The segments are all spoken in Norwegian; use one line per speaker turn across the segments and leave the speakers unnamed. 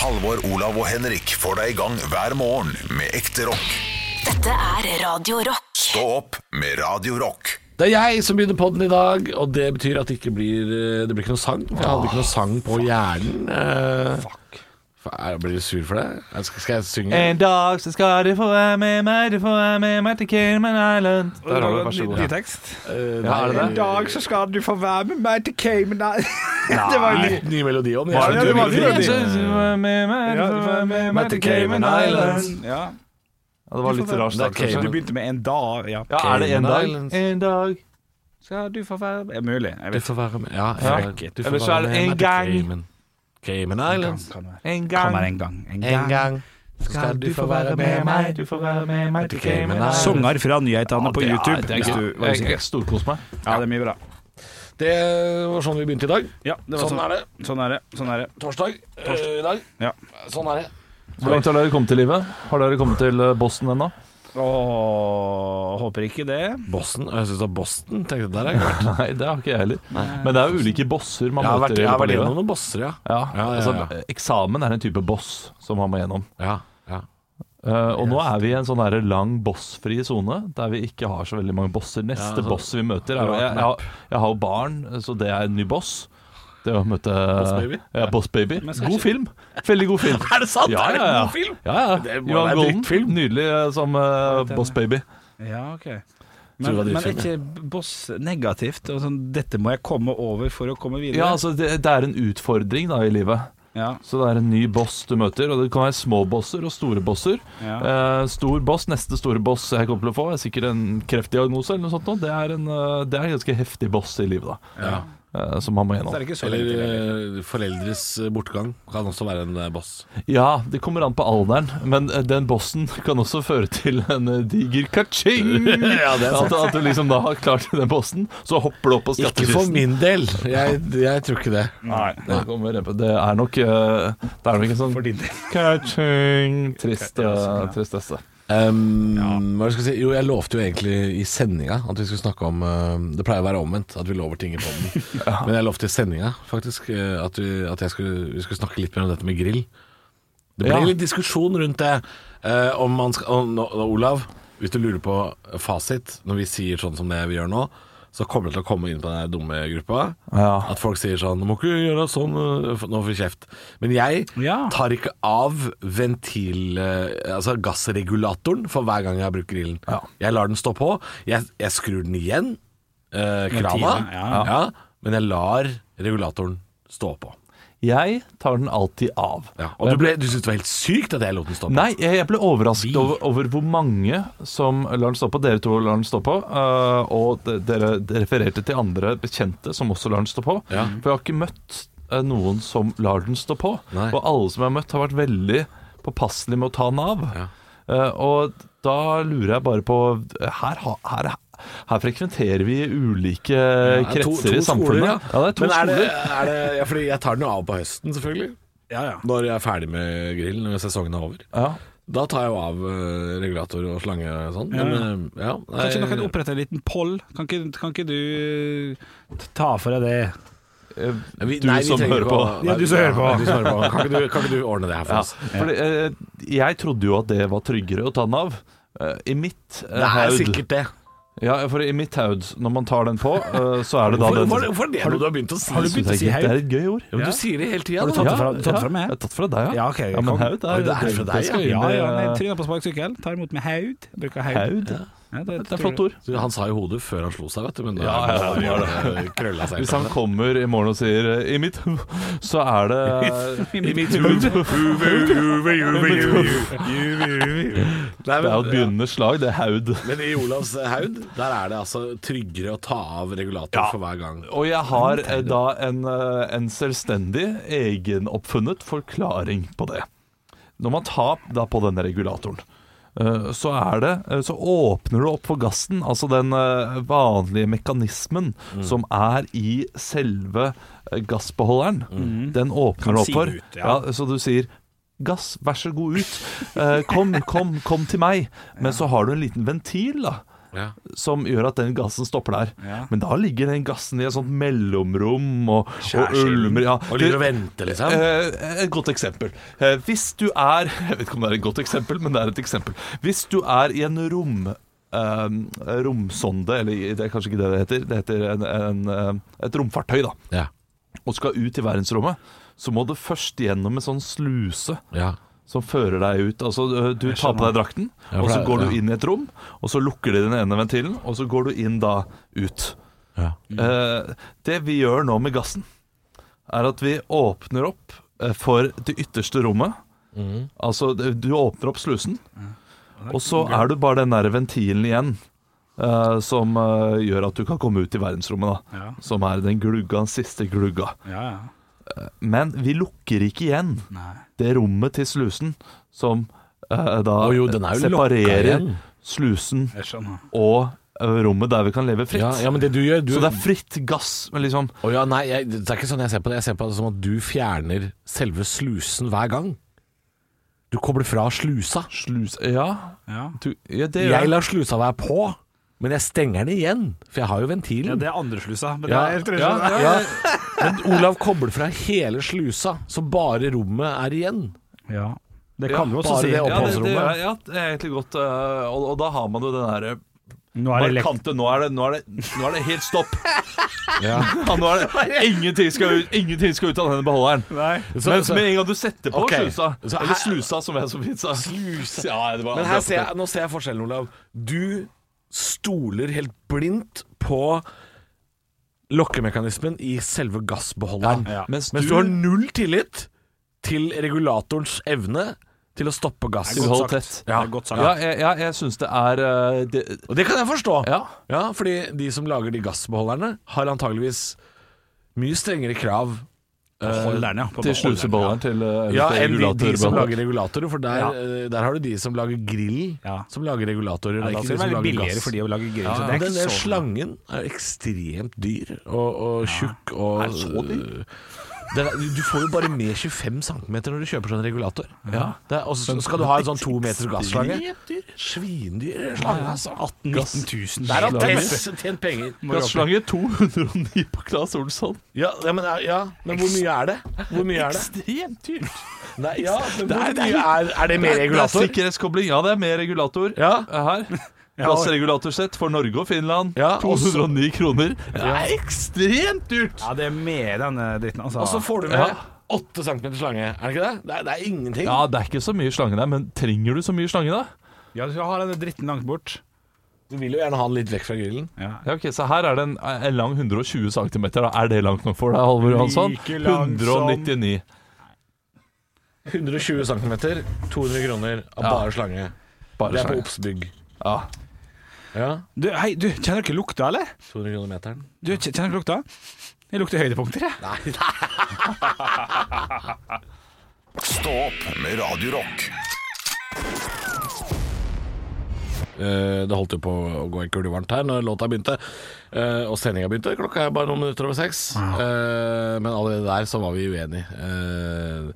Halvor, Olav og Henrik får deg i gang hver morgen med ekte rock.
Dette er Radio Rock.
Stå opp med Radio Rock.
Det er jeg som begynner podden i dag, og det betyr at det ikke blir, eh, det blir ikke noe sang. Jeg hadde ikke noe sang på hjernen. Eh, fa- er- Blir du sur for det? Jeg Skal, skal jeg synge?
En dag så skal du få være med meg, du får være med meg til Cayman Island.
Der har du, vær så god.
Eh, ja, er det
En
det?
dag så skal du få være med meg til Cayman Island. Det var jo litt
Litt ny melodi òg.
Var det
Jeg,
du var
jeg,
fin?
Så du får være med meg, du
Ja,
får være med meg til Cayman Island.
Ja.
Ja, det var litt rar
Det er
start,
Cayman-
Du
kanskje.
begynte med en dag, ja.
Ja, er det en
Cayman
dag?
Islands.
En dag.
Skal du få være med? Mulig. Jeg
du
vet
får være med. Ja,
Ja.
jeg, du får
Eller så
være
er det
med
en
meg til
gang.
Cayman. Cayman Islands.
ikke. Kan være.
En
Kan
gang.
være en gang. En
En
gang.
gang skal du få være med meg.
du får være med meg til
Cayman
Cayman
Islands.
Island.
Sanger fra nyhetene på
Ja, det er-
YouTube.
det er
hvis
gøy.
du var
Jeg,
usikker.
jeg storkoser meg.
Ja, det er mye bra.
Det var sånn vi begynte i dag.
Ja, det var
Sånn er det.
Sånn er det. Sånn er det.
Torsdag eh, i dag.
Ja.
Sånn er det.
Hvor langt har dere kommet i livet? Har dere kommet til eh, Boston ennå?
Åh, håper ikke det.
Boston. Jeg syns det var Boston. Tenkte jeg, der har jeg vært.
Nei, det har ikke jeg heller. Men det er jo ulike bosser man
Jeg har
møter
vært,
i
jeg har
løpet av
vært
livet.
gjennom noen bosser, ja.
Ja,
Ja, ja, ja.
Altså, eksamen er en type boss som man må gjennom.
ja, ja.
Eh, og nå er vi i en sånn der lang bossfri sone, der vi ikke har så veldig mange bosser. Neste
Ja, altså, så-
boss vi møter er jo jeg, jeg, har- jeg har jo barn, så det er en ny boss. Det å møte
Baby?
Ja, boss baby.
skal
God film. Veldig god film.
Er det sant?
Ja,
Er det
ja,
en
ja.
god film?
Ja, ja.
Det må være
Johan Golden.
drittfilm.
Nydelig eh, som eh, boss baby.
Ja, ok
Tror
men,
du det er
men
drittfilm,
er ikke boss negativt? Og sånn, dette må jeg komme over for å komme videre.
Ja, altså, det, det er en utfordring da i livet.
Ja,
Så det er en ny boss du møter, og det kan være små bosser og store bosser.
ja.
Eh, stor boss, neste store boss jeg kommer til å få, er sikkert en kreftdiagnose eller noe sånt. nå. Det er en, eh, det er en ganske heftig boss i livet, da. Eh, som man må
Så er
gjennom.
det ikke så lenge til. eller?
Eller eh, foreldres eh, bortgang kan også være en eh, boss.
Ja, det kommer an på alderen, men eh, den bossen kan også føre til en eh, diger ka-ching! at, at du liksom da har klart den bossen, så hopper du opp på
Ikke for
skattkisten.
min del. Jeg, jeg tror ikke det.
Nei.
Det, kommer en på- det er nok eh, Det er nok en sånn
For din del.
ka-ching Trist,
Ja, sånn,
eh,
ja.
tristesse.
Um, hva skal jeg si? Jo, jeg lovte jo egentlig i sendinga at vi skulle snakke om eh, Det pleier å være omvendt, at vi lover ting i poden. Men jeg lovte i sendinga faktisk eh, at, vi, at jeg skulle, vi skulle snakke litt mer om dette med grill. Det ble
Ja.
litt diskusjon rundt det. eh, om man skal, og, nå- og Olav, hvis du lurer på fasit når vi sier sånn som det vi gjør nå, så kommer det til å komme inn på den der dumme gruppa.
Ja.
At folk sier sånn 'Du må ikke gjøre sånn, øh, for- nå får vi kjeft'. Men jeg
Ja.
tar ikke av ventil... øh, Altså gassregulatoren for hver gang jeg har brukt grillen.
Ja.
Jeg lar den stå på. Jeg, jeg skrur den igjen. øh, krana.
Ventilen, ja.
men jeg lar regulatoren stå på.
Jeg tar den alltid av.
Og du, ble, du syntes det var helt sykt at jeg lot den stå på?
Nei, jeg, jeg ble overrasket over, over hvor mange som lar den stå på. Dere to lar den stå på. øh, og de, dere refererte til andre bekjente som også lar den stå på.
Ja.
For jeg har ikke møtt øh, noen som lar den stå på.
Nei.
Og alle som jeg har møtt, har vært veldig påpasselige med å ta den av.
Ja.
Eh, og da lurer jeg bare på Her, ha- her, her frekventerer vi ulike
Det er to- to
kretser i samfunnet.
skoler,
ja, det er to
men er det,
skoler.
er det, ja, fordi jeg tar den jo av på høsten, selvfølgelig.
Ja, ja.
Når jeg er ferdig med grillen, når sesongen er over.
Ja.
Da tar jeg jo av eh, regulator og slange og sånn.
Ja, ja.
Men, eh, ja, nei,
Kanskje noen kan opprette en liten poll? Kan ikke, kan ikke du ta for deg det?
Eh,
vi-
du
nei, vi
som
trenger
hører
ikke
på.
å-
Ja, du som hører på.
Ja, du som hører på. Kan, ikke du, kan ikke du ordne det her for
Ja,
oss?
fordi, eh, jeg trodde jo at det var tryggere å ta den av. Eh, I mitt eh,
Det er
haud
sikkert det.
Ja, for i mitt haud, når man tar den på, eh, så er det da
Hvorfor,
den
hvorfor, hvorfor er det noe du har begynt å si?
har du
Jeg synes
begynt å si
det er gøy.
haud?
Det er et gøy ord.
Ja, men
Ja.
du sier det hele tida.
Har du tatt det fra, tatt det fra
ja, jeg
meg?
har tatt fra deg, ja.
Ja, ok.
ja men
kom.
haud
Oi,
er,
det er fra deg,
skal
ja.
inn
Ja,
i,
ja.
eh,
nei, Tryner på sparkesykkel, tar imot med haud. Bruker haud.
Haud.
Ja, det,
Det er flott ord.
Så Han sa jo hodet før han slo seg, vet du. Men da
Ja, ja, ja,
det krølla seg.
Hvis han kommer i morgen og sier eh, 'i mitt hode', så er det
I mitt
hud.
Nei,
Det er jo et
men,
begynnende slag, det er haud.
ja. men i Olavs haud, der er det altså tryggere å ta av regulator for hver gang.
Og jeg har eh, da en, eh, en selvstendig, egenoppfunnet forklaring på det. Når man tar da på denne regulatoren, eh, så, er det, eh, så åpner du opp for gassen, altså den eh, vanlige mekanismen
Mm.
som er i selve eh, gassbeholderen. Den åpner du opp
Mm. si
for.
ut, ja.
så du sier Gass, vær så god ut. Eh, kom, kom, kom til meg. Men så har du en liten ventil da
Ja.
som gjør at den gassen stopper der.
Ja.
Men da ligger den gassen i et sånt mellomrom og, og
Skjærsilden.
ulmer. Ja.
Og ligger og venter, liksom.
Eh, Et godt eksempel. Eh, Hvis du er Jeg vet ikke om det er et godt eksempel, men det er et eksempel. Hvis du er i en rom eh, romsonde, eller i- det er kanskje ikke det det heter, det heter en, en, eh, et romfartøy, da,
Ja.
og skal ut i verdensrommet, så må du først gjennom en sånn sluse
ja.
som fører deg ut. Altså, ø, du tar på deg drakten,
Ja, for
og så
det er-
går
ja.
du inn i et rom, og så lukker de den ene ventilen, og så går du inn da ut.
Ja.
Eh, det vi gjør nå med gassen, er at vi åpner opp eh, for det ytterste rommet.
Mm.
Altså, d- du åpner opp slusen, og så er du bare den der ventilen igjen. eh, som eh, gjør at du kan komme ut i verdensrommet, da.
Ja.
Som er den glugga, den siste glugga.
Ja, ja.
Men vi lukker ikke igjen
Nei.
det rommet til slusen som eh, da
Å jo, den er jo lokka
separerer
igjen.
slusen
Jeg skjønner.
og eh, rommet der vi kan leve fritt.
Ja, ja, men det du gjør du,
Så det er fritt gass, men liksom
Å ja, nei, jeg, Det er ikke sånn jeg ser på det. Jeg ser på det som at du fjerner selve slusen hver gang. Du kobler fra slusa.
slus... Ja,
Ja.
du, ja det gjør
Jeg lar slusa være på, men jeg stenger den igjen. For jeg har jo ventilen.
ja, det er andre slusa. Men
Ja,
det er tredje
ja,
slusa.
ja. Men Olav kobler fra hele slusa, så bare rommet er igjen.
Ja. Det kan
Ja,
du også
bare
si.
det
ja, det, det,
oppholdsrommet.
ja, det er egentlig godt. eh, og, og da har man jo den derre
Nå er det lekt.
markante nå er, det, nå, er det, nå er det helt stopp! Ja, nå er det Ingenting skal ut, ingenting skal ut av denne beholderen.
Nei.
Så-
Mens
så-
med en gang du setter på
Ok.
slusa,
Så her-
eller slusa som jeg så fint sa Slusa ja, det var
Men her ser jeg, nå ser jeg forskjellen, Olav. Du stoler helt blindt på lokkemekanismen i selve gassbeholderen.
Ja, ja.
Mens
Mens du har null tillit til regulatorens evne til å stoppe gass.
Til å holde tett.
Ja.
Det er godt sagt.
Ja, jeg, ja, jeg syns det er eh, det,
Og det kan jeg forstå.
Ja.
Ja, fordi de som lager de gassbeholderne, har antageligvis mye strengere krav
Beholderen, ja. På
Til
beholderen,
sluseballeren til eh,
ja,
til
enn de, de som
regulatorbeholderen.
lager regulatorer, for der,
Ja.
eh, der har du de som lager grill,
Ja.
som lager regulatorer.
Ja,
det
da
er ikke
skal det
de som
være
lager
billigere
gass.
for de å lage grill. så det
Men
er
den
ikke
der
så
slangen er ekstremt dyr og, og tjukk og Eh,
Er den så dyr?
Den er- du får jo bare med 25 cm når du kjøper sånn regulator.
Ja.
Det er- Og så skal du ha en sånn to meters gasslange. Svindyr slange, altså. 18
18 000.
Der har
Slange.
Tess tjent penger.
Gasslange 209 på Claes Olsson.
Ja, ja, men, ja, men hvor mye er det? Hvor mye er det?
Ekstremt dyrt.
Nei, ja, men
Det
hvor
er- det er-
mye er, er det med
Det
regulator?
er sikkerhetskobling. Ja, det er med regulator
Ja.
eh, her. Gassregulatorsett for Norge og Finland.
Ja, og så-
209 kroner. Det er ekstremt dyrt!
Ja, det er med denne dritten, altså.
Og så får du med
Ja.
8 cm slange, er det ikke det? Det er, det er ingenting.
Ja, det er ikke så mye slange der, men trenger du så mye slange da?
Ja, du skal ha denne dritten langt bort.
Du vil jo gjerne ha den litt vekk fra grillen.
Ja.
Ja, ok, Så her er det en, en lang 120 cm. Da. Er det langt nok for deg, Halvor Johansson?
Like lang som-
199.
120 cm, 200 kroner av
Ja.
bare slange.
Bare
Det er på
slange.
Obsbygg.
Ja.
Ja,
Du, hei, du, kjenner du ikke lukta, eller?
200 kroner meteren.
Du, kj- kjenner du ikke lukta? Jeg lukter høydepunkter, jeg.
Nei,
Stå opp med Radio Rock.
Eh, Det holdt jo på å gå en kule varmt her når låta begynte, eh, og sendinga begynte. Klokka er bare noen minutter over seks. Eh, Men allerede der så var vi uenige. Eh,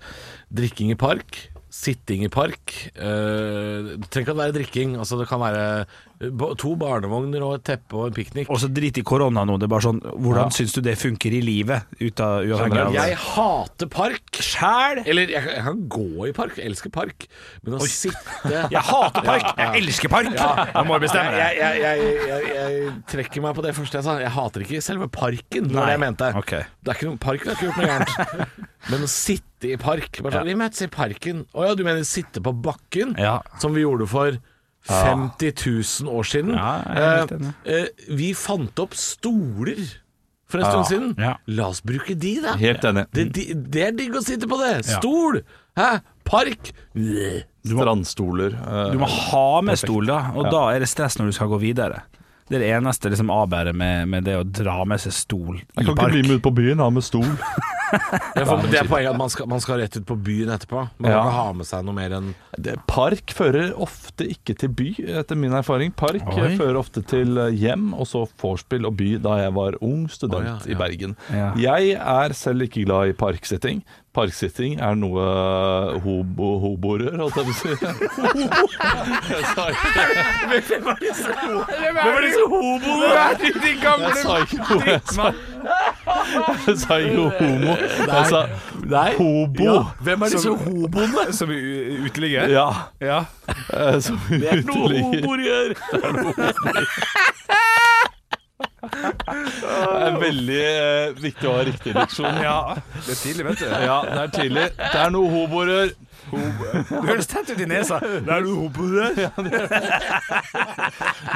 Drikking i park. Sitting i park. eh, Det trenger ikke å være drikking. Altså Det kan være eh, ba- to barnevogner og et teppe og en piknik.
Og så drit i korona nå. Det er bare sånn Hvordan syns du det funker i livet? Ut av uavhengig av
Jeg hater park.
Sjæl!
Eller jeg, jeg kan gå i park. Jeg elsker park. Men å sitte
Jeg hater park!
Ja, ja.
Jeg elsker park! Jeg må bestemme
Jeg, jeg, jeg, jeg, jeg trekker meg på det første jeg sa. Jeg hater ikke selve parken. Nei.
Nei,
Jeg mente.
ok.
Det er ikke noe, parken har ikke gjort noe gærent. Men å sitte i park bare sånn, Vi møtes i parken. Å ja, du mener sitte på bakken?
Ja.
Som vi gjorde for 50 000 år siden.
Ja, jeg er helt
Eh,
enig.
eh, vi fant opp stoler for en stund siden.
Ja.
La oss bruke de, da.
Helt enig.
Det, det, det er digg å sitte på det.
Ja.
Stol! Hæ? Park! Bleh.
Strandstoler. eh,
Du må ha med stol, da, og da er det stress når du skal gå videre. Det er det eneste liksom, avbæret med, med det å dra med seg stol i
Jeg kan ikke
park.
bli med ut på byen, ha med stol.
Ja, for det er poenget at man skal, man skal rett ut på byen etterpå. Man
Ja.
kan ikke ha med seg noe mer enn
Det, park fører ofte ikke til by, etter min erfaring. Park
Oi.
eh, fører ofte til eh, hjem, og så vorspiel og by, da jeg var ung student
Å, ja, ja.
i Bergen.
Ja.
Jeg er selv ikke glad i parksitting. Parksitting er noe eh, hobo, hoborør, holdt jeg på å si. Jeg sa ikke,
Hvem er disse hoboene? De
jeg sa
gamle
ikke, noe, jeg sa, jeg sa ikke homo. Jeg sa hobo.
Hvem er disse hoboene? Som u- uteligger?
Ja.
Ja.
eh, Som uteligger.
gjør!
Det er veldig eh, viktig å ha riktig leksjon.
Ja. Det er tidlig, vet du.
Ja, det er tidlig. Det er noe hoborør.
Du høres tett ut i nesa. Det er du hobo der.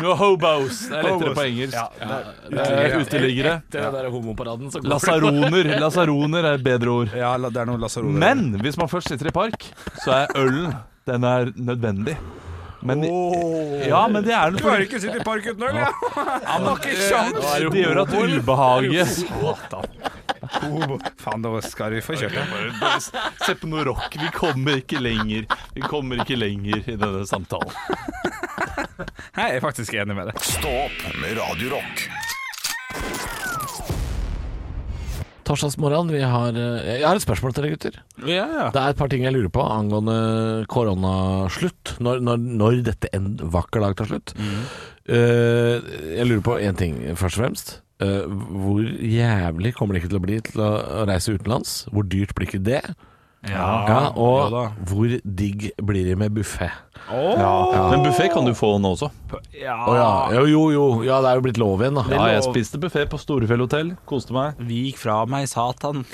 Noe hobos. Det er lettere på engelsk. Det er Uteliggere.
Etter den der homoparaden så går det
Lasaroner. Lasaroner er et bedre ord.
Ja, la- det er noe lasaroner.
Men hvis man først sitter i park, så er ølen den er nødvendig. Men, ja, men det er den
Klarer ikke å sitte i park uten øl, ja. Eh, Han har ikke sjans.
fordi det gjør at ubehaget
Hobo. Faen, da skal vi få kjørt det.
Se på noe rock. Vi kommer ikke lenger. Vi kommer ikke lenger i denne samtalen.
Nei, Jeg er faktisk enig med deg.
Stå opp med Radio Rock.
Torsdagsmorgen, vi har eh, Jeg har et spørsmål til dere, gutter.
Ja, ja.
Det er et par ting jeg lurer på angående koronaslutt. Når, når, når dette en vakker dag tar slutt. Eh, jeg lurer på én ting, først og fremst. Eh, hvor jævlig kommer det ikke til å bli til å å reise utenlands? Hvor dyrt blir ikke det? Ja, og
ja
hvor digg blir det med buffé?
Men buffé kan du få nå også.
Å ja. Jo, jo, jo. Ja, Ah. det er jo blitt lov igjen, da.
Ja, jeg spiste buffé på Storefjell hotell. Koste meg.
Vik fra meg, satan.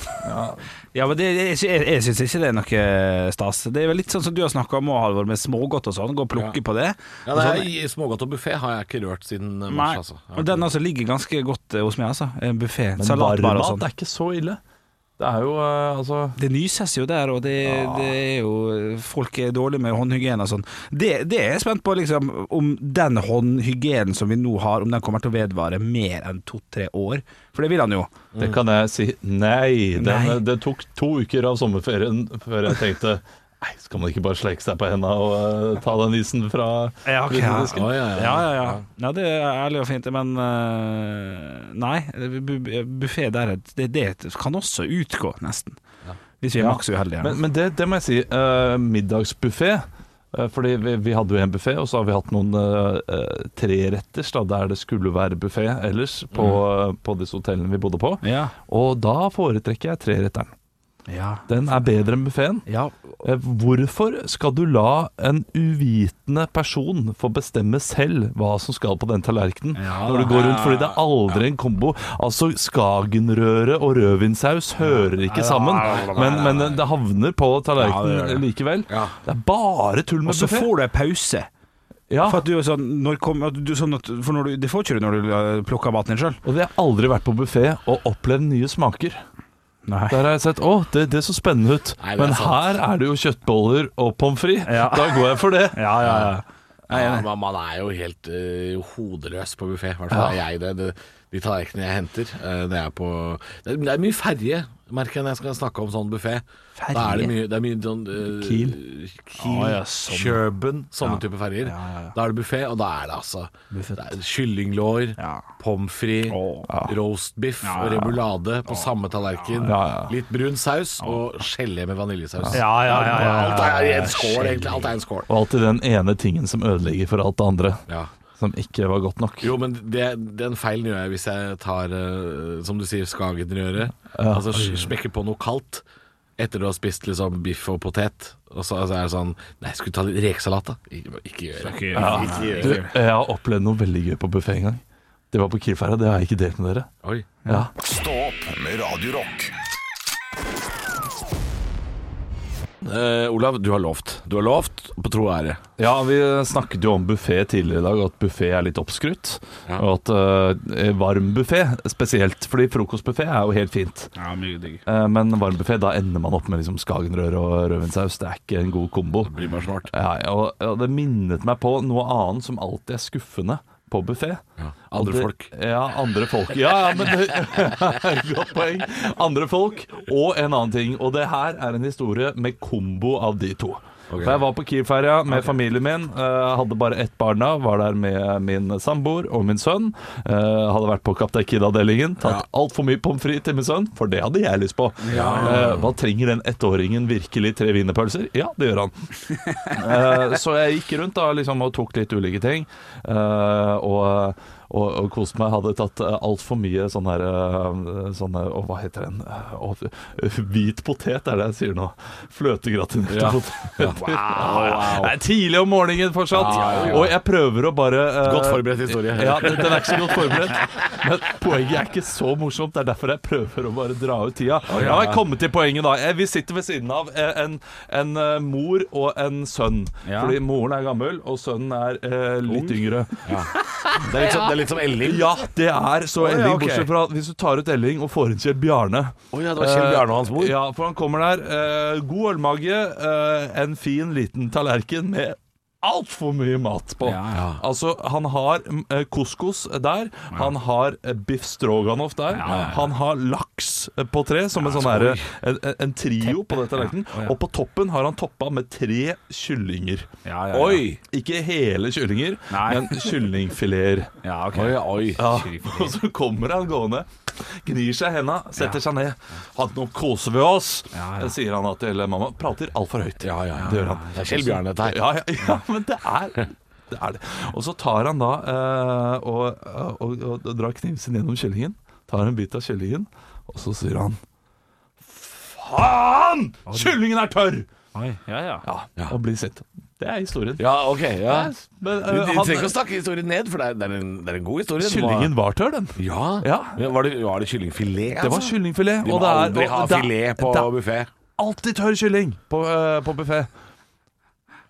Ja, men det, jeg, sy- jeg, jeg syns ikke det er noe stas. Det er vel litt sånn som du har snakka om, Halvor, med smågodt og sånn. Gå og plukke på det.
Ja, det er, smågodt og buffé har jeg ikke rørt siden eh,
Nei.
mars, altså. Ja.
Og den altså ligger ganske godt eh, hos meg, altså. En buffé.
Men
Salatbar og
varmmat
sånn.
er ikke så ille. Det er jo eh, altså
Det nyses jo der, og det, det er jo Folk er dårlige med håndhygiene og sånn. Det, det er jeg spent på, liksom, om den håndhygienen som vi nå har, om den kommer til å vedvare mer enn to-tre år. For det vil han jo.
Det kan jeg si. Nei, den,
Nei.
det tok to uker av sommerferien før jeg tenkte Nei, skal man ikke bare sleike seg på henda og eh, ta den isen fra
Ja, ok, ja.
vinduesken?
Å, ja, ja.
Ja, ja, ja. ja det er ærlig og fint, men eh, nei. Buffé der det, det kan også utgå, nesten. Hvis vi er
Ja.
maks uheldige.
Men, men det, det må jeg si. Uh, Middagsbuffé. eh, Fordi vi, vi hadde jo en buffé, og så har vi hatt noen eh, eh, treretters da, der det skulle være buffé ellers, på, eh, på disse hotellene vi bodde på.
ja.
Og da foretrekker jeg treretteren.
Ja.
Den er bedre enn buffeen.
ja.
Eh, Hvorfor skal du la en uvitende person få bestemme selv hva som skal på den tallerkenen
Ja,
når du går rundt? Fordi det er aldri en kombo. Altså, Skagenrøre og rødvinsaus hører ikke sammen, men, men det havner på
Ja, det gjør
tallerkenen
det.
likevel.
Ja.
Det er bare tull
Og
med
så
buffé.
får du en pause.
Ja,
For at du er sånn, når kom, at du, sånn at, for når du, det får ikke du når du eh, plukker maten din sjøl.
og jeg har aldri vært på buffé og opplevd nye smaker.
Nei.
Der har jeg sett Å, det, det så spennende ut.
Nei, det er
Men
sant.
her er det jo kjøttboller og pommes frites. Da går jeg for det.
Ja, ja, ja.
Ja, man, man er jo helt eh, hodeløs på buffé. I hvert fall er jeg det. det de tallerkenene jeg henter, eh, det er på Det er, det er mye ferje, merker jeg når jeg skal snakke om sånn buffé. Da er det mye, det er mye sånn eh,
Kiel.
Kiel,
Å, ja, sånn.
Kjøben, sånne type ferjer. Da er det buffé, og da er det altså det er Kyllinglår,
Ja.
pommes frites,
Å,
roastbiff og remulade på samme tallerken.
Ja, ja.
Litt brun saus og gelé med vaniljesaus.
Ja, ja, ja. ja,
Alt
ja.
er i en skål, egentlig. Alt er i en skål.
Og alltid den ene tingen som ødelegger for alt det andre.
Ja.
Som ikke var godt nok.
Jo, men det, den feilen gjør jeg hvis jeg tar, eh, som du sier, skagenrøre. altså s- smekker på noe kaldt etter du har spist liksom biff og potet. Og så altså, er det sånn Nei, jeg skulle ta litt rekesalat, da. Ikke, ikke gjør det. Ikke gjør
Du,
det.
jeg har opplevd noe veldig gøy på buffé en gang. Det var på Kielferga, det har jeg ikke delt med dere.
Oi.
Ja.
Stå opp med Radio Rock.
Eh, Olav, du har lovt. Du har lovt på tro og ære.
ja, vi snakket jo om buffé tidligere i dag, og at buffé er litt oppskrytt.
Ja.
Og at eh, varm buffé spesielt, fordi frokostbuffé er jo helt fint.
ja mye digg.
Eh, men varm buffé, da ender man opp med liksom skagenrøre og rødvinsaus. Det er ikke en god kombo.
Blir bare snart.
Ja, og, og det minnet meg på noe annet som alltid er skuffende på buffé.
Ja. Andre folk.
Ja, andre folk. Ja, ja, men det, Godt poeng. Andre folk og en annen ting. Og det her er en historie med kombo av de to. For Jeg var på Kiel-ferja med familien min. eh, hadde bare ett barn da. Var der med min samboer og min sønn. Eh, hadde vært på Kaptein Kid-avdelingen. Tatt altfor mye pommes frites til min sønn, for det hadde jeg lyst på. Eh, hva trenger den ettåringen virkelig tre wienerpølser? Ja, det gjør han. Eh, så jeg gikk rundt da liksom, og tok litt ulike ting. eh, og og, og koste meg. Hadde tatt eh, altfor mye sånn her eh, sånn her- Å, hva heter den? Eh, å, eh, hvit potet er det jeg sier nå. Fløtegratinerte
Ja.
poteter. Det er tidlig om morgenen fortsatt, og jeg prøver å bare eh,
Godt forberedt historie.
Ja, den, den er ikke så godt forberedt. Men poenget er ikke så morsomt. Det er derfor jeg prøver å bare dra ut tida.
ja.
Nå har jeg kommet til poenget, da. Eh, Vi sitter ved siden av eh, en, en eh, mor og en sønn.
Ja.
Fordi moren er gammel, og sønnen er eh, litt yngre.
Det er litt som, det er litt som Elling.
Ja, det er så Elling,
ok.
bortsett fra hvis du tar ut Elling og får inn Kjell Bjarne.
Å ja, det var Kjell
Eh,
Bjarne og hans mor.
Ja, for han kommer der. eh, god ølmage, eh, en fin liten tallerken med altfor mye mat på.
Ja, ja.
Altså, han har eh, couscous der, han har eh, biff stroganoff der, han har laks eh, på tre, som en sånn herre en, en- en trio på den tallerkenen.
Ja, ja.
Og på toppen har han toppa med tre kyllinger.
Ja, ja, ja.
Oi! Ikke hele kyllinger,
Nei.
men kyllingfileter.
Ja, ok.
Oi, oi.
Ja, og så kommer han gående, gnir seg i henda, setter seg ned. Han, 'Nå koser vi oss',
Ja, ja.
sier han da til mamma. Prater altfor høyt.
Ja, ja, ja.
Det gjør han.
Det er Kjell Bjarne, dette her.
Ja, ja, ja, men det er det. er det Og så tar han da eh, og, og, og, og drar kniven sin gjennom kyllingen. Tar en bit av kyllingen, og så sier han Faen! Kyllingen er tørr!
Oi, ja, ja.
Ja, Og blir sint. Det er historien.
Ja, ok. Ja.
Men, eh,
Du, du
han-
trenger ikke å snakke historien ned, for det er, det er, en, det er en god historie. Den var-
kyllingen var tørr, den.
Ja.
Ja.
Men Var, det, var det kyllingfilet?
Det var
altså?
kyllingfilet.
De
og
må
det er-
aldri
og
ha
det er-
filet på
det er
buffé.
Alltid tørr kylling på, uh, på buffé.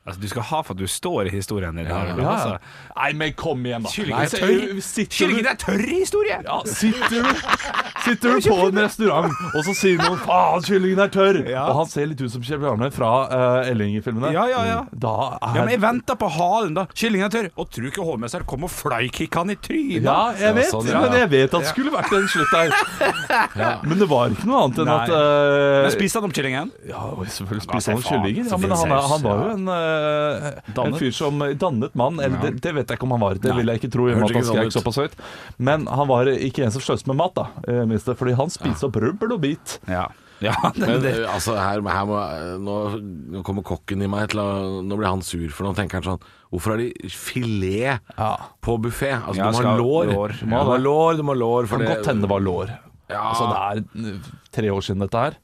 Altså, du skal ha for at du står i historien din.
Ja.
her, altså.
Nei, men kom igjen, da.
Kyllingen
Nei,
er tørr.
Sitter
Kyllingen
du,
er tørr i historie!
ja, sitter du, sitter du på en restaurant, og så sier noen 'faen, kyllingen er tørr',
Ja.
og han ser litt ut som Kjell Bjarne fra eh, Elling-filmene. Mm.
Ja, ja, ja.
Da er
Ja, men jeg venta på halen, da. Kyllingen er tørr. Og tror ikke hovmesteren kom og flykikka han i trynet.
Ja, jeg vet,
sånn, ja.
men jeg vet at det skulle vært en slutt der. Men det var ikke noe annet enn
Nei.
at eh,
Men Spiste han opp kyllingen?
Ja, og selvfølgelig
Ja, se
spiste han
faen,
kyllinger. Ja, men
så fin
han, er-
saus,
han var jo
ja.
en, eh, en
Dannet.
fyr som dannet mann. Eller det, det vet jeg ikke om han var. Det
Nei.
vil jeg ikke tro. i og med
Hørte
at han
ikke sånn
skrek såpass høyt Men han var ikke en som sløste med mat, da. eh, Mister, fordi han spiste opp rubbel og bit.
Ja. ja
Men
det,
eh, altså, her, her må, eh, nå, nå kommer kokken i meg til å Nå blir han sur, for nå tenker han sånn Hvorfor har de filet
Ja.
på buffé? Altså,
Ja,
du må ha
skal-
lår.
lår.
Du må ha lår, du må ha lår. For
Kan
det,
godt hende det var lår.
Ja.
Altså, det er eh, tre år siden dette her.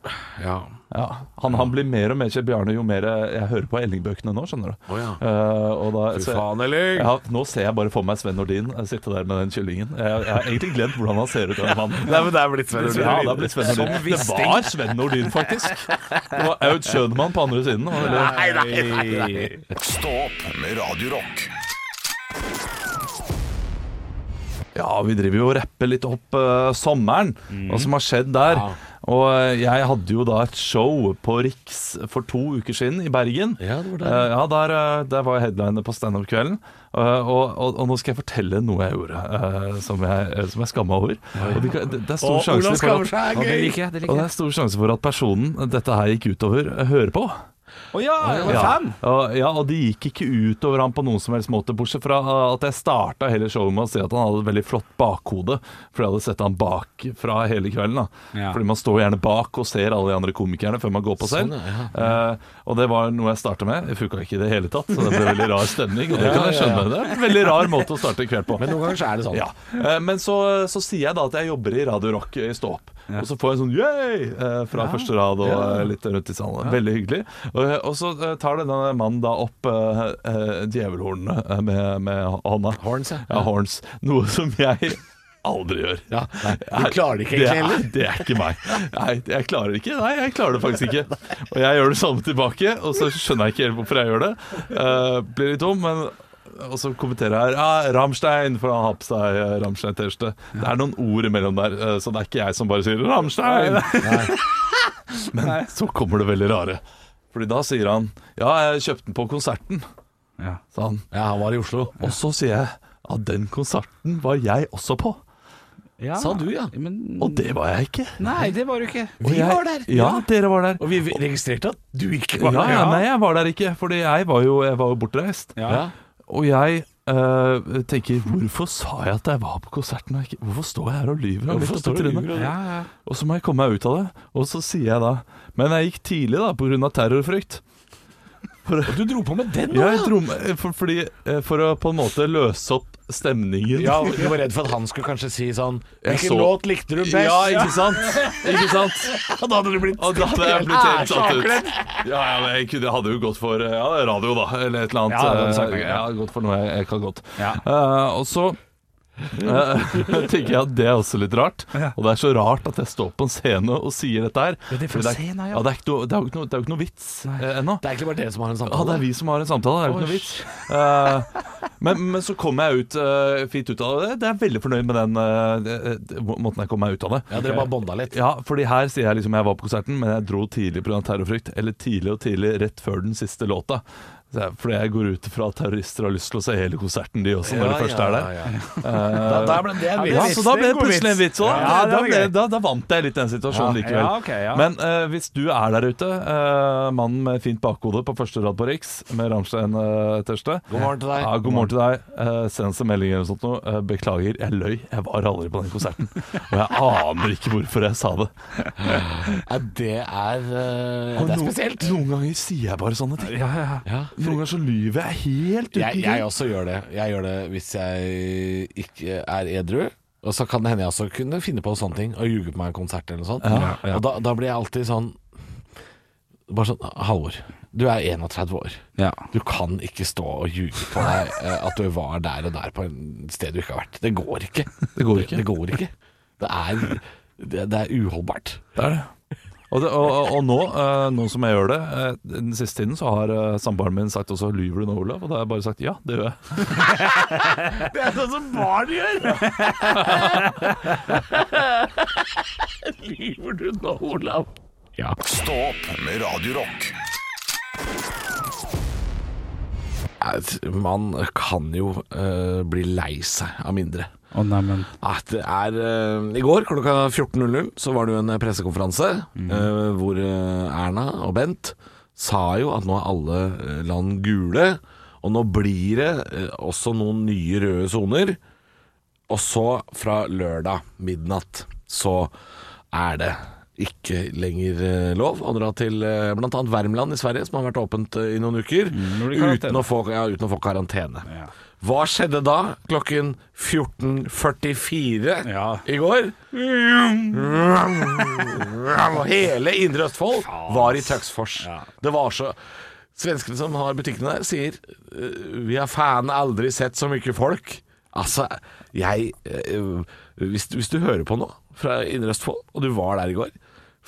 ja.
Ja. Han, han blir mer og mer Kjell Bjarne jo mer eh, jeg hører på Elling-bøkene nå, skjønner du.
Å, ja.
Eh, og da,
Fy
så-
faen, Elling!
Ja, nå ser jeg bare for meg Sven Nordin eh, sitte der med den kyllingen. Jeg, jeg har egentlig glemt hvordan han ser ut. Den mannen.
Nei, men det er blitt Sven Nordin.
Ja, det, ble Sven Nordin. det var Sven Nordin, faktisk. Det var Aud Schønemann på andre siden. og det-
Nei, nei, nei, nei.
Stå opp med Radio Rock.
Ja, vi driver jo og rapper litt opp eh, sommeren, hva som har skjedd der.
Ja.
Og eh, jeg hadde jo da et show på Riks for to uker siden i Bergen.
Ja, det var der.
Eh, ja, der, eh, der var jeg headliner på standup-kvelden. Eh, og, og, og nå skal jeg fortelle noe jeg gjorde eh, som jeg, eh, som jeg skamma over. Og det, det, det er stor
Å,
sjanse
Olav
for
skammer
at
seg,
det
er gøy!
liker jeg. Det
og
liker
det
jeg.
er stor sjanse for at personen dette her gikk utover, eh, hører på.
Å ja, jeg var fan!
Og, ja, og det gikk ikke utover han på noen som helst måte, bortsett fra at jeg starta hele showet med å si at han hadde et veldig flott bakhode, for jeg hadde sett han bak fra hele kvelden. da
Ja.
Fordi man står gjerne bak og ser alle de andre komikerne før man går på selv.
Sånn, ja,
Eh, og det var noe jeg starta med. Det funka ikke i det hele tatt, så det ble veldig rar stemning. Og det kan jeg skjønne. Det er en veldig rar måte å starte en kveld på.
Men noen ganger så er det sånn.
Ja. Eh, Men så, så sier jeg da at jeg jobber i Radio Rock i Stå opp. Og så får jeg en sånn yay eh, fra første rad og eh, litt rundt i salen. Veldig hyggelig. Og, og så eh, tar denne mannen da opp eh, eh, djevelhornene eh, med, med hånda.
Horns, ja.
Ja, horns. Noe som jeg aldri gjør.
Ja, nei, du klarer det ikke
Det
egentlig
er,
heller.
det er ikke meg. Nei, jeg klarer det ikke. Nei, jeg klarer det faktisk ikke. Og jeg gjør det samme tilbake, og så skjønner jeg ikke helt hvorfor jeg gjør det. Eh, blir litt dum, men og så kommenterer jeg her ja, Ramstein, for han har på seg eh, Ramstein-T-skjorte. Det er noen ord imellom der, eh, så det er ikke jeg som bare sier 'Ramstein'. Men så kommer det veldig rare. Fordi da sier han 'Ja, jeg kjøpte den på konserten',
Ja.
sa han.
Ja, han var i Oslo.
Og så sier jeg Ja, den konserten var jeg også på,
Ja. Mm.
Sa du, ja.
Men,
og det var jeg ikke.
Nei, det var du ikke.
Og jeg, Ja, dere var der.
Og vi registrerte at du ikke
Ja,
var der.
ja, nei, jeg var der ikke, fordi jeg var jo, jeg var jo bortreist.
Ja.
Ja.
Og jeg eh, tenker Hvorfor sa jeg at jeg var på konserten? og ikke- Hvorfor står jeg her og lyver?
Hvorfor står du og lyver,
Ja, ja.
Og så må jeg komme meg ut av det. Og så sier jeg da Men jeg gikk tidlig, da, pga. terrorfrykt.
Og du dro på med den nå,
Jeg dro, med- for, fordi, eh, for å på en måte løse opp stemningen.
Ja, Du var redd for at han skulle kanskje si sånn
Jeg
Hvilken
så-
låt likte du best?
Ja, ikke sant? Ikke sant?
da hadde du blitt
Og da hadde jeg blitt helt satt ut. Ja, ja, men jeg, kunne, jeg hadde jo gått for eh, ja, radio, da, eller et eller annet.
Ja, det hadde du sagt,
Eh,
ja.
jeg hadde gått for noe jeg, jeg kan godt.
Ja.
Eh, og så eh, tenker jeg at det er også litt rart.
Ja.
Og det er så rart at jeg står på en scene og sier dette her.
Ja, det er fra
Fordi
scenen, ja.
ja, det, er ikke noe, det er jo ikke noe, det er jo ikke noe vits eh, ennå.
Det er egentlig bare dere som har en
Ja, det
samtale.
er vi som har en samtale, det er jo ikke noe vits. Eh, men, men så kom jeg ut eh, fint ut av det. Det er jeg veldig fornøyd med den eh, eh, måten jeg kom meg ut av det.
Ja, Dere bare bonda litt.
Ja, fordi her sier jeg liksom jeg var på konserten, men jeg dro tidlig pga. terrorfrykt. Eller tidlig og tidlig rett før den siste låta. Så jeg- Fordi jeg går ut ifra at terrorister har lyst til å se hele konserten, de også, når de først er der.
Ja, ja, ja.
Eh,
Da, da ble det en
Ja,
ja,
vits.
så da ble det plutselig en vits. Og da,
Ja, det
da,
var
ble,
greit.
da, da vant jeg litt den situasjonen
Ja.
likevel.
Ja, ok, ja.
Men eh, hvis du er der ute, eh, mannen med fint bakhode på første rad på Riks med Ramstein-tørste
God morgen til deg.
ja, God morgen til deg. Eh, send oss en melding eller noe sånt. nå. Eh, beklager, jeg løy. Jeg var aldri på den konserten. Og jeg aner ikke hvorfor jeg sa det.
Ja, det er eh, ja, Det er spesielt.
Noen ganger sier jeg bare sånne ting.
Ja, ja.
Ja.
Noen ganger så lyver jeg helt uten
Jeg, jeg
grunn.
også gjør det. Jeg gjør det hvis jeg ikke er edru. Og så kan det hende jeg også kunne finne på sånne ting og ljuge på meg en konsert eller noe sånt.
Ja,
ja.
Og da, da blir jeg alltid sånn Bare sånn Halvor, du er 31 år.
Ja.
Du kan ikke stå og ljuge på deg eh, at du var der og der på et sted du ikke har vært. Det går ikke.
Det går ikke.
Det går ikke. Det er, det, det er uholdbart.
Det er det. Og, det, og, og- og nå, eh, nå som jeg gjør det, eh, den siste tiden så har eh, samboeren min sagt også 'lyver du nå, Olav?' Og da har jeg bare sagt 'ja, det gjør jeg'.
Det er sånn som barn gjør!
Lyver du nå, Olav? Ja.
Stå opp med Radio Rock.
Man kan jo eh, bli lei seg av mindre.
Å, nei, men
Ja, det er eh, I går klokka 14.00 så var det jo en pressekonferanse
Mm.
eh, hvor eh, Erna og Bent sa jo at nå er alle eh, land gule, og nå blir det eh, også noen nye røde soner. Og så fra lørdag midnatt så er det ikke lenger eh, lov å dra til eh, blant annet Värmland i Sverige, som har vært åpent eh, i noen uker,
nå blir det Mm, karantene.
uten, å få, ja, uten å få karantene.
Ja.
Hva skjedde da klokken 14.44
Ja.
i går? Og Hele Indre Østfold var i Tøxfors. Det var så Svenskene som har butikkene der, sier eh, Vi har faen aldri sett så mye folk. Altså, jeg eh, hvis, du- hvis du hører på nå fra Indre Østfold, og du var der i går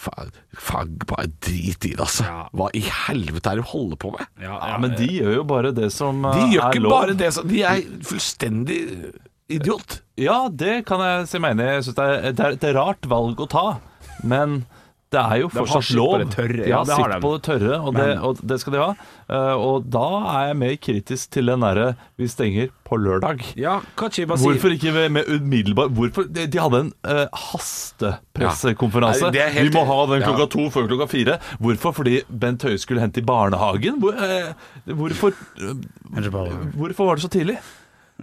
Faen, faen bare drit i det, altså. Hva i helvete er det du holder på med?
ja,
Ja, men de gjør jo bare det som eh,
De gjør
er
ikke
lov.
bare det som De er fullstendig eh, idiot.
Ja, det kan jeg si meg enig i. Jeg synes det, er- det, er- det er rart valg å ta, men det er jo
har
fortsatt
sitt
lov.
på det tørre,
Ja,
ja, det har
sitt
de.
på det tørre, og det, og det skal de ha. Eh, og da er jeg mer kritisk til den derre vi stenger på lørdag.
Ja, hva skal jeg bare si?
Hvorfor ikke med, med umiddelbar Hvorfor? De, de hadde en eh, hastepressekonferanse.
Ja. Nei, det er helt-
Vi må ha den klokka
Ja.
to før klokka fire. Hvorfor? Fordi Bent Høie skulle hente i barnehagen? Hvor, eh, hvorfor, hvorfor var det så tidlig?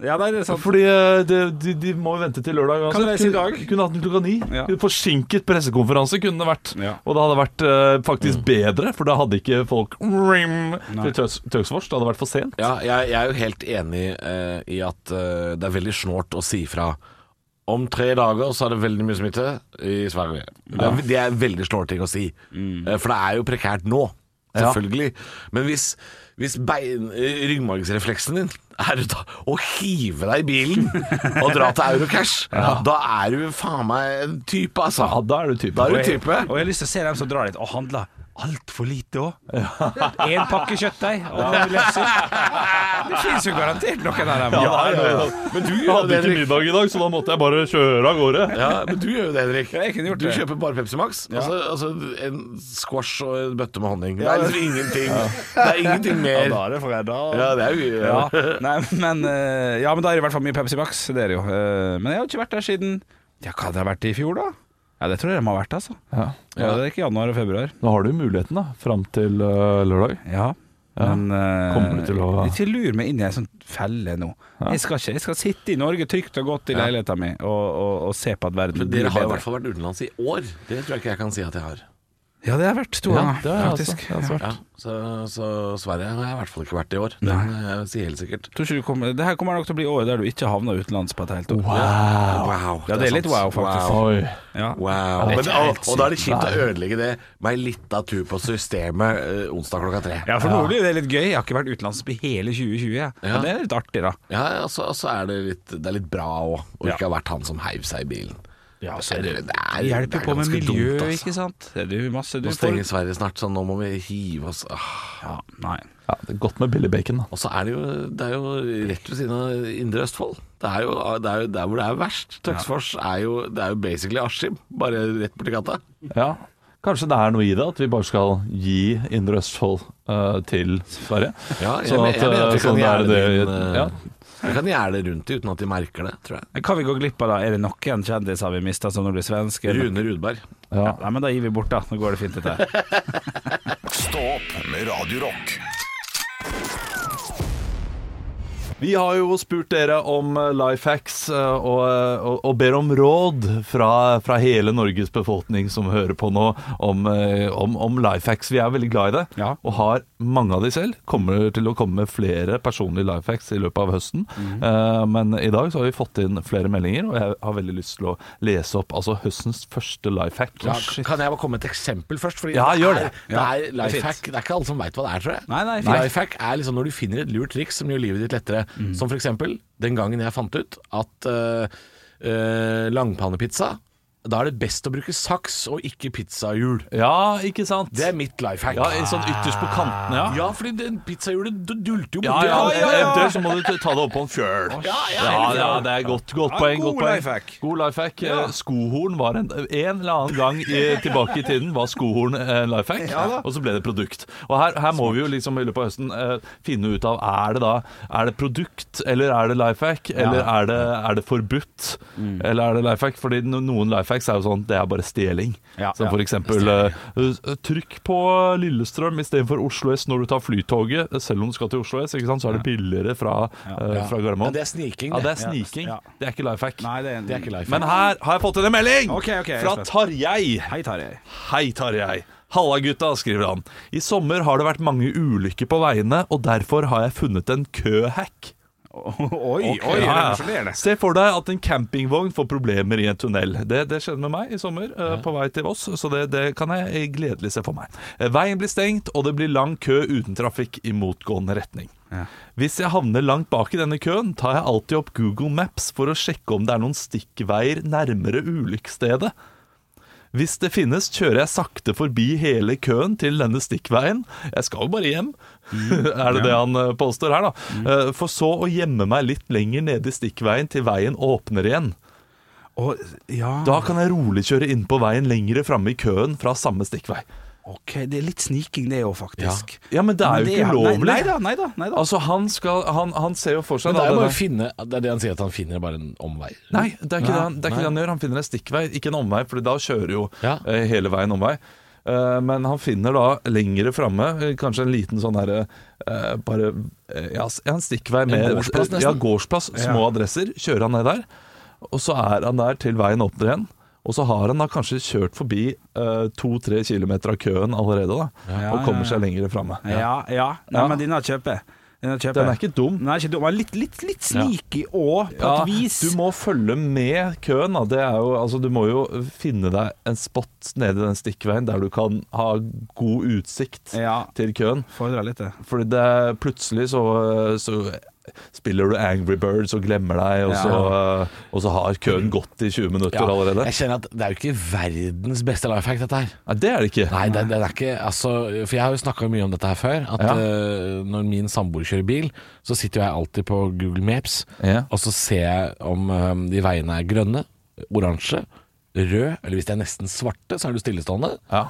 Ja, nei, det er sant.
Fordi eh, de, de, de må jo vente til lørdag.
Kan reise i dag.
Kunne- Kunne hatt den klokka ni.
Ja.
Forsinket pressekonferanse kunne det vært.
Ja.
Og det hadde vært eh, faktisk bedre, for da hadde ikke folk rim, til Tøs- Tøksfors. Det hadde vært for sent.
Ja, jeg, jeg er jo helt enig eh, i at eh, det er veldig snålt å si fra om tre dager så er det veldig mye smitte i Sverige. Det er, det er veldig snålt ting å si. Eh, For det er jo prekært nå,
Ja.
selvfølgelig. Men hvis, hvis bein, eh, ryggmargsrefleksen din er ut av å hive deg i bilen og dra til Eurocash, da er du faen meg en type, altså.
Ja, da er du typen.
Da er du
Og jeg,
type.
og jeg har lyst til å se dem som drar dit og handler altfor lite òg. Én pakke kjøttdeig og lefser. Det fins jo garantert noen av dem.
Ja, nei, nei, nei.
Men du
Jeg
gjør jo
hadde
det,
ikke
Henrik.
middag i dag, så da måtte jeg bare kjøre av gårde.
Ja, men du gjør jo det, Henrik.
Jeg kunne gjort
du
det.
kjøper bare Pepsi Max. Altså, altså en squash og en bøtte med honning. Det er liksom ingenting. Det er ingenting
Ja,
mer.
da er det fredag.
Ja, det er jo ja.
Ja, nei, men, eh, ja, men da er det i hvert fall mye Pepsi Max. Det er det jo. Eh, Men jeg har ikke vært der siden Ja, hva hadde jeg vært i fjor, da? Ja, Det tror jeg de har vært, altså.
Ja.
Ja, det er ikke januar og februar.
Da har du muligheten da, fram til øh, lørdag.
Ja,
Ja.
men eh,
Kommer du til å-
Ikke lur meg inn i en sånn felle nå. Jeg, skal ikke, jeg skal sitte i Norge trygt og godt i leiligheta mi og, og, og se på at verden
Men
blir
dere har i
bedre.
hvert fall vært utenlands i år. Det tror jeg ikke jeg kan si at jeg har.
Ja, det har jeg vært to
Ja,
ganger,
det har jeg
faktisk.
også. Det har jeg også vært.
Ja, så, så Sverige har jeg i hvert fall ikke vært i år. Det
Nei.
kan jeg si helt sikkert.
Tror ikke du kommer, det her kommer nok til å bli året der du ikke havner utenlands på et helt år.
Wow.
Wow.
Ja, det er litt wow, faktisk.
Oi.
Ja.
Wow.
Det er
Men,
ikke
og,
helt
og da er det kjipt å ødelegge det med ei lita tur på systemet eh, onsdag klokka tre.
Ja, for nå blir det litt gøy. Jeg har ikke vært utenlands i hele 2020. Jeg. Ja.
Ja.
det er litt artig, da.
Ja, og så altså, er det litt, det er litt bra òg, å
Ja.
ikke ha vært han som heiv seg i bilen.
Ja,
er det- det er-
det hjelper
det er
på med
ganske
miljø,
dumt, altså.
ikke sant? Det er jo masse du
Nå stenger Sverige snart, så nå må vi hive oss ah.
Ja, nei.
Ja, det er godt med billig bacon, da.
Og så er det jo, det er jo rett ved siden av Indre Østfold. Det er jo, det er jo der hvor det er verst. Tøksfors er, jo, det er jo basically Askim, bare rett borti gata.
Ja. Kanskje det er noe i det, at vi bare skal gi Indre Østfold øh, til Sverige.
Ja, jeg
Sånn
men-
at,
jeg mener at vi
øh,
kan
sånn er
gjøre
det-
det uten,
ja.
Vi kan gjerde rundt det uten at de merker det, tror jeg.
Men Hva vi går glipp av, da? Er det noen kjendiser vi mista som nå blir svenske?
Rune Rudberg.
Ja.
Ja, nei, men da gir vi bort, da. Nå går det fint, dette her.
Stå opp med Radio Rock.
Vi har jo spurt dere om life hacks eh, og, og, og ber om råd fra, fra hele Norges befolkning som hører på nå, om, eh, om, om life hacks. Vi er veldig glad i det,
Ja.
og har mange av de selv. Kommer til å komme med flere personlige life hacks i løpet av høsten. Eh, Men i dag så har vi fått inn flere meldinger, og jeg har veldig lyst til å lese opp altså høstens første life hack.
Ja, kan jeg bare komme med et eksempel først? Fordi
Ja,
det
gjør
er,
det.
det.
Ja,
er life hack. Det er ikke alle som veit hva det er, tror jeg.
Nei, nei, fint.
Lifehack er liksom når du finner et lurt triks som gjør livet ditt lettere.
Mm.
Som for eksempel den gangen jeg fant ut at eh, eh, langpannepizza Da er det best å bruke saks og ikke pizzahjul.
Ja, ikke sant?
Det er mitt life hack.
ja, sånn ytterst på kantene, ja.
Ja, fordi den pizzahjulet du- dulter jo
Ja,
borti
ja,
alt.
ja, Eventuelt så må du ta det opp på en fjøl. Ja,
ja,
ja, det er godt, godt
Ja,
poeng.
god
godt poeng.
lifehack.
God lifehack. Eh, Skohorn var en, en eller annen gang i, tilbake i tiden var skohorn en lifehack, og så ble det produkt. Og her, her må vi jo liksom i løpet av høsten eh, finne ut av er det da er det produkt, eller er det lifehack, eller er, det, er det forbudt,
Mm.
eller er det lifehack? Fordi no- noen lifehacks er jo sånn det er bare stjeling.
Ja,
Som
ja.
for eksempel eh, eh, trykk på Lillestrøm istedenfor Oslo S når du tar flytoget, selv om du skal til Oslo S, ikke sant? så er det billigere fra, eh,
Ja.
fra
Men
Gardermoen.
det er sniking,
Ja, det
det.
er sniking.
Ja.
Det er ikke life hack.
Nei, det er,
Det er ikke life
Men
hack.
her har jeg fått en melding
Ok, ok, jeg er
fra
spent.
Tarjei.
Hei, Tarjei.
Hei, Tarjei. Halla, gutta, skriver han. I sommer har det vært mange ulykker på veiene, og derfor har jeg funnet en køhack.
Oi,
Ok,
oi,
ja, ja.
revolusjonerende.
Se for deg at en campingvogn får problemer i en tunnel. Det, det skjedde med meg i sommer eh, på vei til Voss, så det, det kan jeg gledelig se for meg. Eh, Veien blir stengt, og det blir lang kø uten trafikk i motgående retning.
Ja.
Hvis jeg havner langt bak i denne køen, tar jeg alltid opp Google Maps for å sjekke om det er noen stikkveier nærmere ulykkesstedet. Hvis det finnes, kjører jeg sakte forbi hele køen til denne stikkveien. Jeg skal jo bare hjem, er det det han eh, påstår her, da. Eh, For så å gjemme meg litt lenger nede i stikkveien til veien åpner igjen.
Og, ja,
Da kan jeg rolig kjøre innpå veien lengre framme i køen fra samme stikkvei.
ok, det er litt sniking det òg, faktisk.
Ja, men det er jo ikke ulovlig.
Nei, nei da, nei da. Nei da.
Altså, han skal Han, han ser jo for seg
Men det
da,
er jo
denne-
bare å finne Det er det han sier, at han finner bare en omvei.
Nei, det er ikke, det, han, det, er
nei.
ikke det han gjør. Han finner en stikkvei, ikke en omvei, for da kjører jo
Ja.
eh, hele veien omvei. Eh, men han finner da lengre framme, eh, kanskje en liten sånn herre eh, Bare eh, ja, s- en stikkvei med eh,
gårdsplass nesten.
Ja, gårdsplass, små adresser. Kjører han ned der, og så er han der til veien åpner igjen. Og så har han da kanskje kjørt forbi to-tre kilometer av køen allerede, da. og kommer seg lengre framme.
Ja, ja. Nei,
Ja.
men denne kjøper jeg. Denne kjøper
Den er
jeg.
ikke dum.
Den er ikke dum. Den er Litt, litt, litt sneaky òg, på et vis.
Du må følge med køen. Da. Det er jo, altså, du må jo finne deg en spot nede i den stikkveien der du kan ha god utsikt
Ja.
til køen.
Fordrer litt, eh. det.
Fordi det, plutselig så, så spiller du Angry Birds og glemmer deg, og,
Ja.
så, eh, og så har køen gått i 20 minutter allerede.
Jeg kjenner at det er jo ikke verdens beste life hack, dette her.
Nei, det er det ikke.
Nei, det, det er ikke altså, For jeg har jo snakka mye om dette her før. At
Ja.
eh, når min samboer kjører bil, så sitter jo jeg alltid på Google Maps,
Ja.
og så ser jeg om eh, de veiene er grønne, oransje, rød, eller hvis de er nesten svarte, så er du stillestående.
Ja.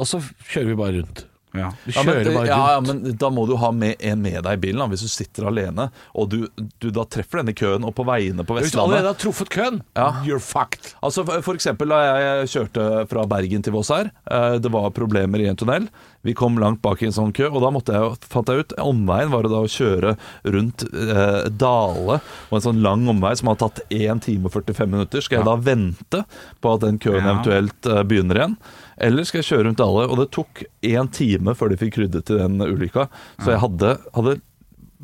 Og så kjører vi bare rundt.
Ja.
Vi
Ja, men,
kjører bare rundt.
ja, ja, men da må du ha med en med deg i bilen, da, hvis du sitter alene, og du, du da treffer denne køen, og på veiene på
Hvis du allerede
Vestlandet
har truffet køen,
Ja.
you're fucked.
Altså for, for eksempel da jeg kjørte fra Bergen til Voss her eh, Det var problemer i en tunnel Vi kom langt bak i en sånn kø Og da måtte jeg, jo- fant jeg ut Omveien var det da å kjøre rundt eh, Dale Og en sånn lang omvei som har tatt 1 time og 45 minutter Skal jeg da vente på at den køen
Ja.
eventuelt eh, begynner igjen Eller skal jeg kjøre rundt Dale Og det tok 1 time før de fikk ryddet til den ulykka Så jeg hadde, hadde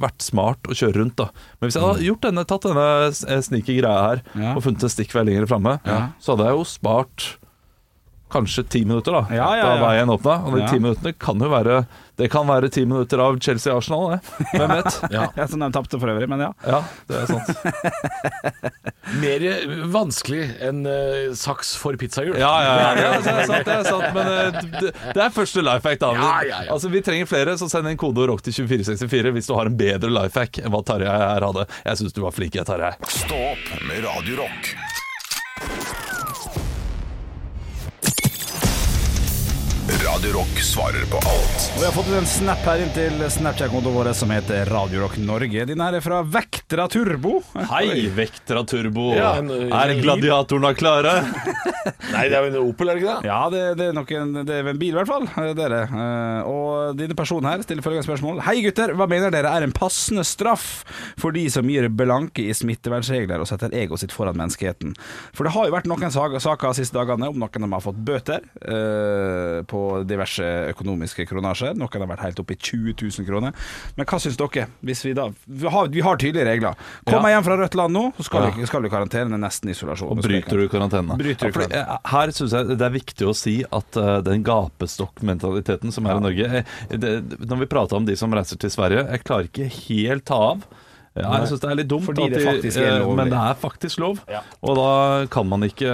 vært smart å kjøre rundt da Men hvis jeg hadde gjort denne, tatt denne s- eh, sneaky greia her
Ja.
Og funnet en stikkvei lenger fremme
Ja.
Så hadde jeg jo spart kanskje ti minutter da
Ja, ja,
Da
ja.
veien åpna Og de
Ja.
ti minuttene kan jo være Det kan være ti minutter av Chelsea-Arsenal det. Hvem vet?
Ja.
Ja, som de tapte for øvrig, men ja.
Ja, det er sant
Mer eh, vanskelig enn eh, saks for pizzahjul.
Ja, ja, ja, det er- det er sant, det er sant Men eh, det, det er første lifehack da
Ja, ja, ja.
Altså vi trenger flere Så send inn kode og rock til 2464 Hvis du har en bedre lifehack enn hva Tarjei her hadde Jeg synes du var flink, jeg Tarjei
Stå opp med Radio Rock. Radio Rock svarer på alt.
Og Vi har fått en snap her inn til Snapchat-kontoen vår som heter Radio Rock Norge. Din her er fra Vektra Turbo.
Hei, vekter av turbo
Ja, en- eh,
Er gladiatorene klare?
Nei, det er jo en Opel, er det ikke det?
Ja, det, det, er nok en, det er en bil i hvert fall, eh, dere. Eh, Og denne personen her stiller følgende spørsmål. Hei gutter, hva mener dere er en passende straff for de som gir blanke i smittevernregler og setter egoet sitt foran menneskeheten? For det har jo vært noen sag- saker de siste dagene om noen som har fått bøter eh, på diverse økonomiske kronasjer. Noen har vært helt oppe i 20 000 kroner. Men hva syns dere? Hvis vi, da, vi, har, vi har tydelige regler. Kommer jeg hjem fra rødt land nå, så skal, vi, skal vi i karantene, nesten isolasjon.
Og bryter du karantene.
Bryter du
Ja, fordi, eh, Her syns jeg det er viktig å si at eh, den gapestokkmentaliteten som er i Norge eh, det, Når vi prater om de som reiser til Sverige, jeg klarer ikke helt ta av. Ja, jeg synes det er litt dumt,
Fordi
at
det
de-
faktisk er
eh,
lovlig.
men det er faktisk lov. Og da kan man ikke,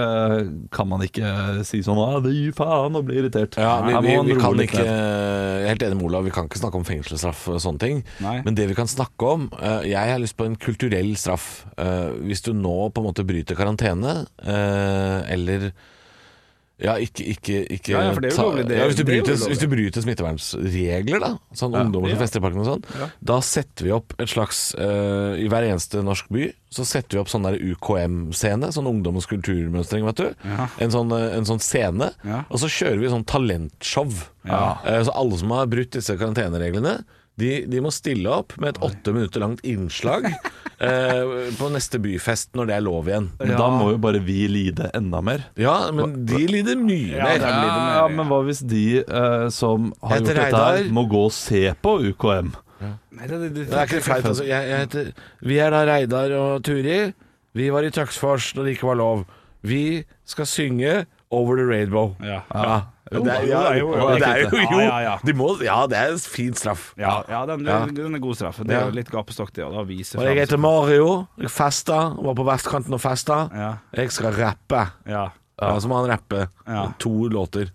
kan man ikke si sånn «Ah, gi faen og bli irritert.
Ja, vi,
Her må
vi,
man
vi
roe
kan
litt
ikke
ned.
Jeg er helt enig med Olav, vi kan ikke snakke om fengselsstraff og sånne ting.
Nei.
Men det vi kan snakke om eh, Jeg har lyst på en kulturell straff. Eh, Hvis du nå på en måte bryter karantene, eh, eller ja, ikke, ikke, ikke
Ja, ja, for det er jo
ta-
lovlig, det er-
ja, hvis, du
det er jo
bryter,
lovlig.
hvis du bryter smittevernregler, da, sånn ungdommer som fester i parken og sånn, da setter vi opp et slags eh, I hver eneste norsk by så setter vi opp sånn der UKM-scene, sånn ungdommens kulturmønstring, vet du. En, sånn, eh, en sånn scene.
Ja.
Og så kjører vi sånn talentshow. Eh, så alle som har brutt disse karantenereglene, de, de må stille opp med et åtte minutter langt innslag eh, på neste byfest når det er lov igjen.
Men da må jo bare vi lide enda mer.
Ja, men de lider mye mer.
det er- blir mer,
Ja,
ja.
men hva hvis de eh, som har
Heter
gjort dette her,
Reidar.
må gå og se på UKM?
Nei, det, det, det,
Det er ikke flaut, altså. Jeg, jeg heter, vi er da Reidar og Turi. Vi var i Tøksfors når det ikke var lov. Vi skal synge Over the Rainbow.
Ja.
Ja. Det er, ja,
Jo, jo, jo, jo.
det er jo,
Ja, ja, ja.
jo de må, ja, det er en fin straff.
Ja, ja, den,
Ja.
den, den er god straff. Det er
Ja.
jo litt gapestokk, det. Og da viser
Og jeg heter
frem-
Mario. Jeg festa. Var på vestkanten og festa.
Ja.
Jeg skal rappe.
Ja.
Ja, så må han rappe
Ja.
to låter.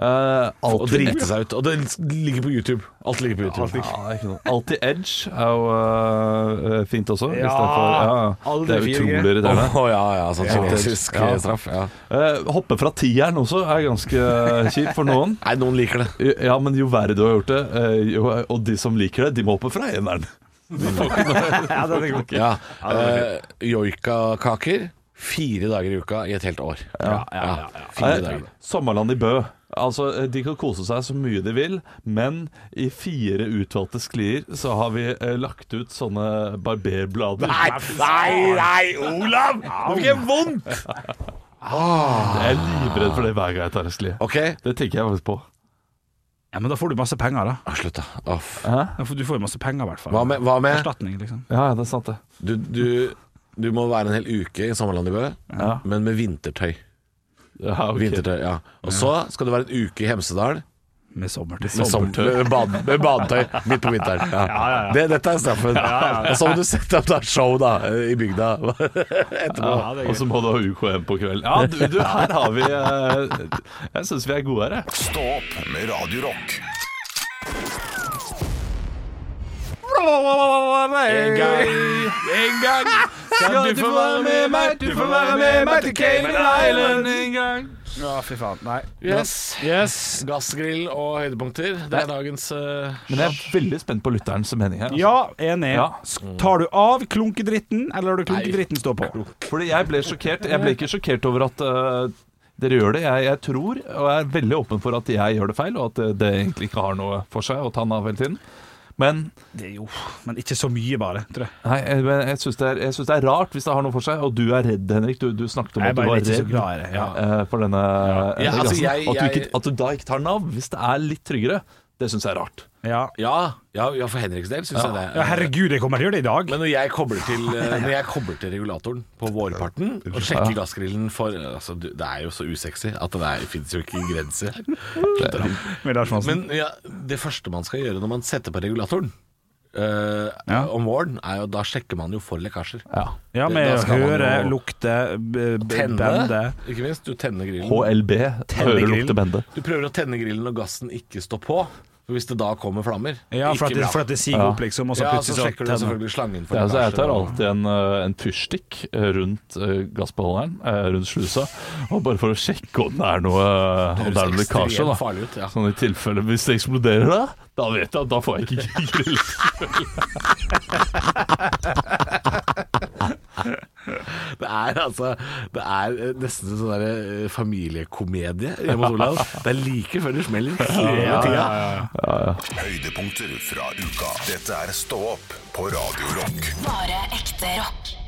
Eh,
Og
alltid
drite seg ut. Og det ligger på YouTube. Alt ligger på YouTube.
Ja, det er ikke noe. Alltid edge er jo øh, øh, fint også. i
Ja,
stedet for, ja,
aldri
det er
fire G.
utrolig
Å
irriterende.
ja, ja. Sånn
Ja.
kinesisk
Ja.
eh, straff. Ja.
Eh, hoppe fra tieren også er ganske eh, kjipt for noen.
Nei, noen liker det.
Ja, men jo verre du har gjort det, eh, jo, og de som liker det, de må hoppe fra eneren.
ja, den er god.
Ja. eh, Joikakaker fire dager i uka i et helt år.
Ja, ja, ja, ja.
Fire
Eh,
dager.
Sommerland i Bø. Altså, eh, De kan kose seg så mye de vil, men i fire utvalgte sklier så har vi eh, lagt ut sånne barberblader.
nei, nei, Olav! Nå fikk jeg vondt!
Jeg er livredd for det hver gang jeg tar en skli.
Ah, OK.
Det tenker jeg faktisk på.
ja, men da får du masse penger, da.
Ah, slutt, da. Å, f-
Da får- Du får jo masse penger, i hvert fall.
Hva med, hva med?
Erstatning, liksom.
Ja, det er sant, det.
Du, du, du må være en hel uke i sommerland i Bø,
Ja.
men med vintertøy.
Ja, ok.
vintertøy ja. Og så skal du være en uke i Hemsedal
Med sommertøy.
Med, som, med, bad, med badetøy midt på vinteren. Ja. Det, dette er straffen. Og så må du sette opp da show da i bygda etterpå.
Og så må du ha UKM på kvelden. Ja, du, du her har vi eh, Jeg syns vi er gode her, jeg.
Stå opp med Radio Rock.
En gang, en gang skal du få være med meg, du får være med meg til Cayman Island en gang.
Ja, fy faen. Nei.
Yes. Gassgrill og høydepunkter. Det er dagens eh,
Men jeg er veldig spent på lytterens mening her. altså.
Ja, enig.
Ja.
S- Tar du av klunkedritten, eller lar du klunkedritten stå på?
Fordi jeg ble sjokkert. Jeg ble ikke sjokkert over at øh, dere gjør det. Jeg, jeg tror, og jeg er veldig åpen for at jeg gjør det feil, og at eh, det, det egentlig ikke har noe for seg å ta den av hele tiden. Men
Det er jo Men ikke så mye, bare. Tror jeg.
nei, jeg, men jeg syns det, er- jeg syns det er rart hvis det har noe for seg, og du er redd, Henrik. Du, du snakket om
Jeg er
at du
bare
var
ikke så
redd
glad i det, ja.
øh, for denne øh,
Ja, altså,
gassen.
jeg-
at, du
jeg-
ikke, at du da ikke tar den av, hvis det er litt tryggere, det syns jeg er rart.
Ja.
ja, ja, ja, for Henriks del syns jeg
ja,
det.
herregud, jeg kommer til å gjøre det i dag.
Men når jeg kobler til, eh, når jeg kobler til regulatoren på vårparten og sjekker gassgrillen for altså, du- Det er jo så usexy at det fins jo ikke grenser.
Med Lars Monsen.
Men ja, det første man skal gjøre når man setter på regulatoren eh,
Ja.
om våren, er jo da sjekker man jo for lekkasjer.
Ja.
ja, med
Da
å
skal man
høre,
jo
lukte, b- b- bende.
Tenne, ikke minst. Du tenner grillen.
HLB, hører
grillen.
lukter bende.
Du prøver å tenne grillen når gassen ikke står på. For hvis det da kommer flammer
Ja, for at,
ikke
det,
bra.
for at det siger
Ja.
opp, liksom, og så
ja, så
plutselig så
sjekker du
tenner.
selvfølgelig slangen for
Ja, altså, jeg
lekkasje
tar
og-
alltid en, eh, en fyrstikk eh, rundt eh, gassbeholderen, eh, rundt slusa, og bare for å sjekke om det er noe, eh, om det er noe lekkasje.
ekstremt
da
farlig ut. Ja.
Sånn i tilfelle hvis det eksploderer, da, da vet jeg at da får jeg ikke grill.
Det er altså Det er eh, nesten en sånn der eh, familiekomedie hjemme hos Olav. Det er like før det smeller hele tida.
Høydepunkter fra uka. Dette er Stå opp på Radio Rock.
Bare ekte rock.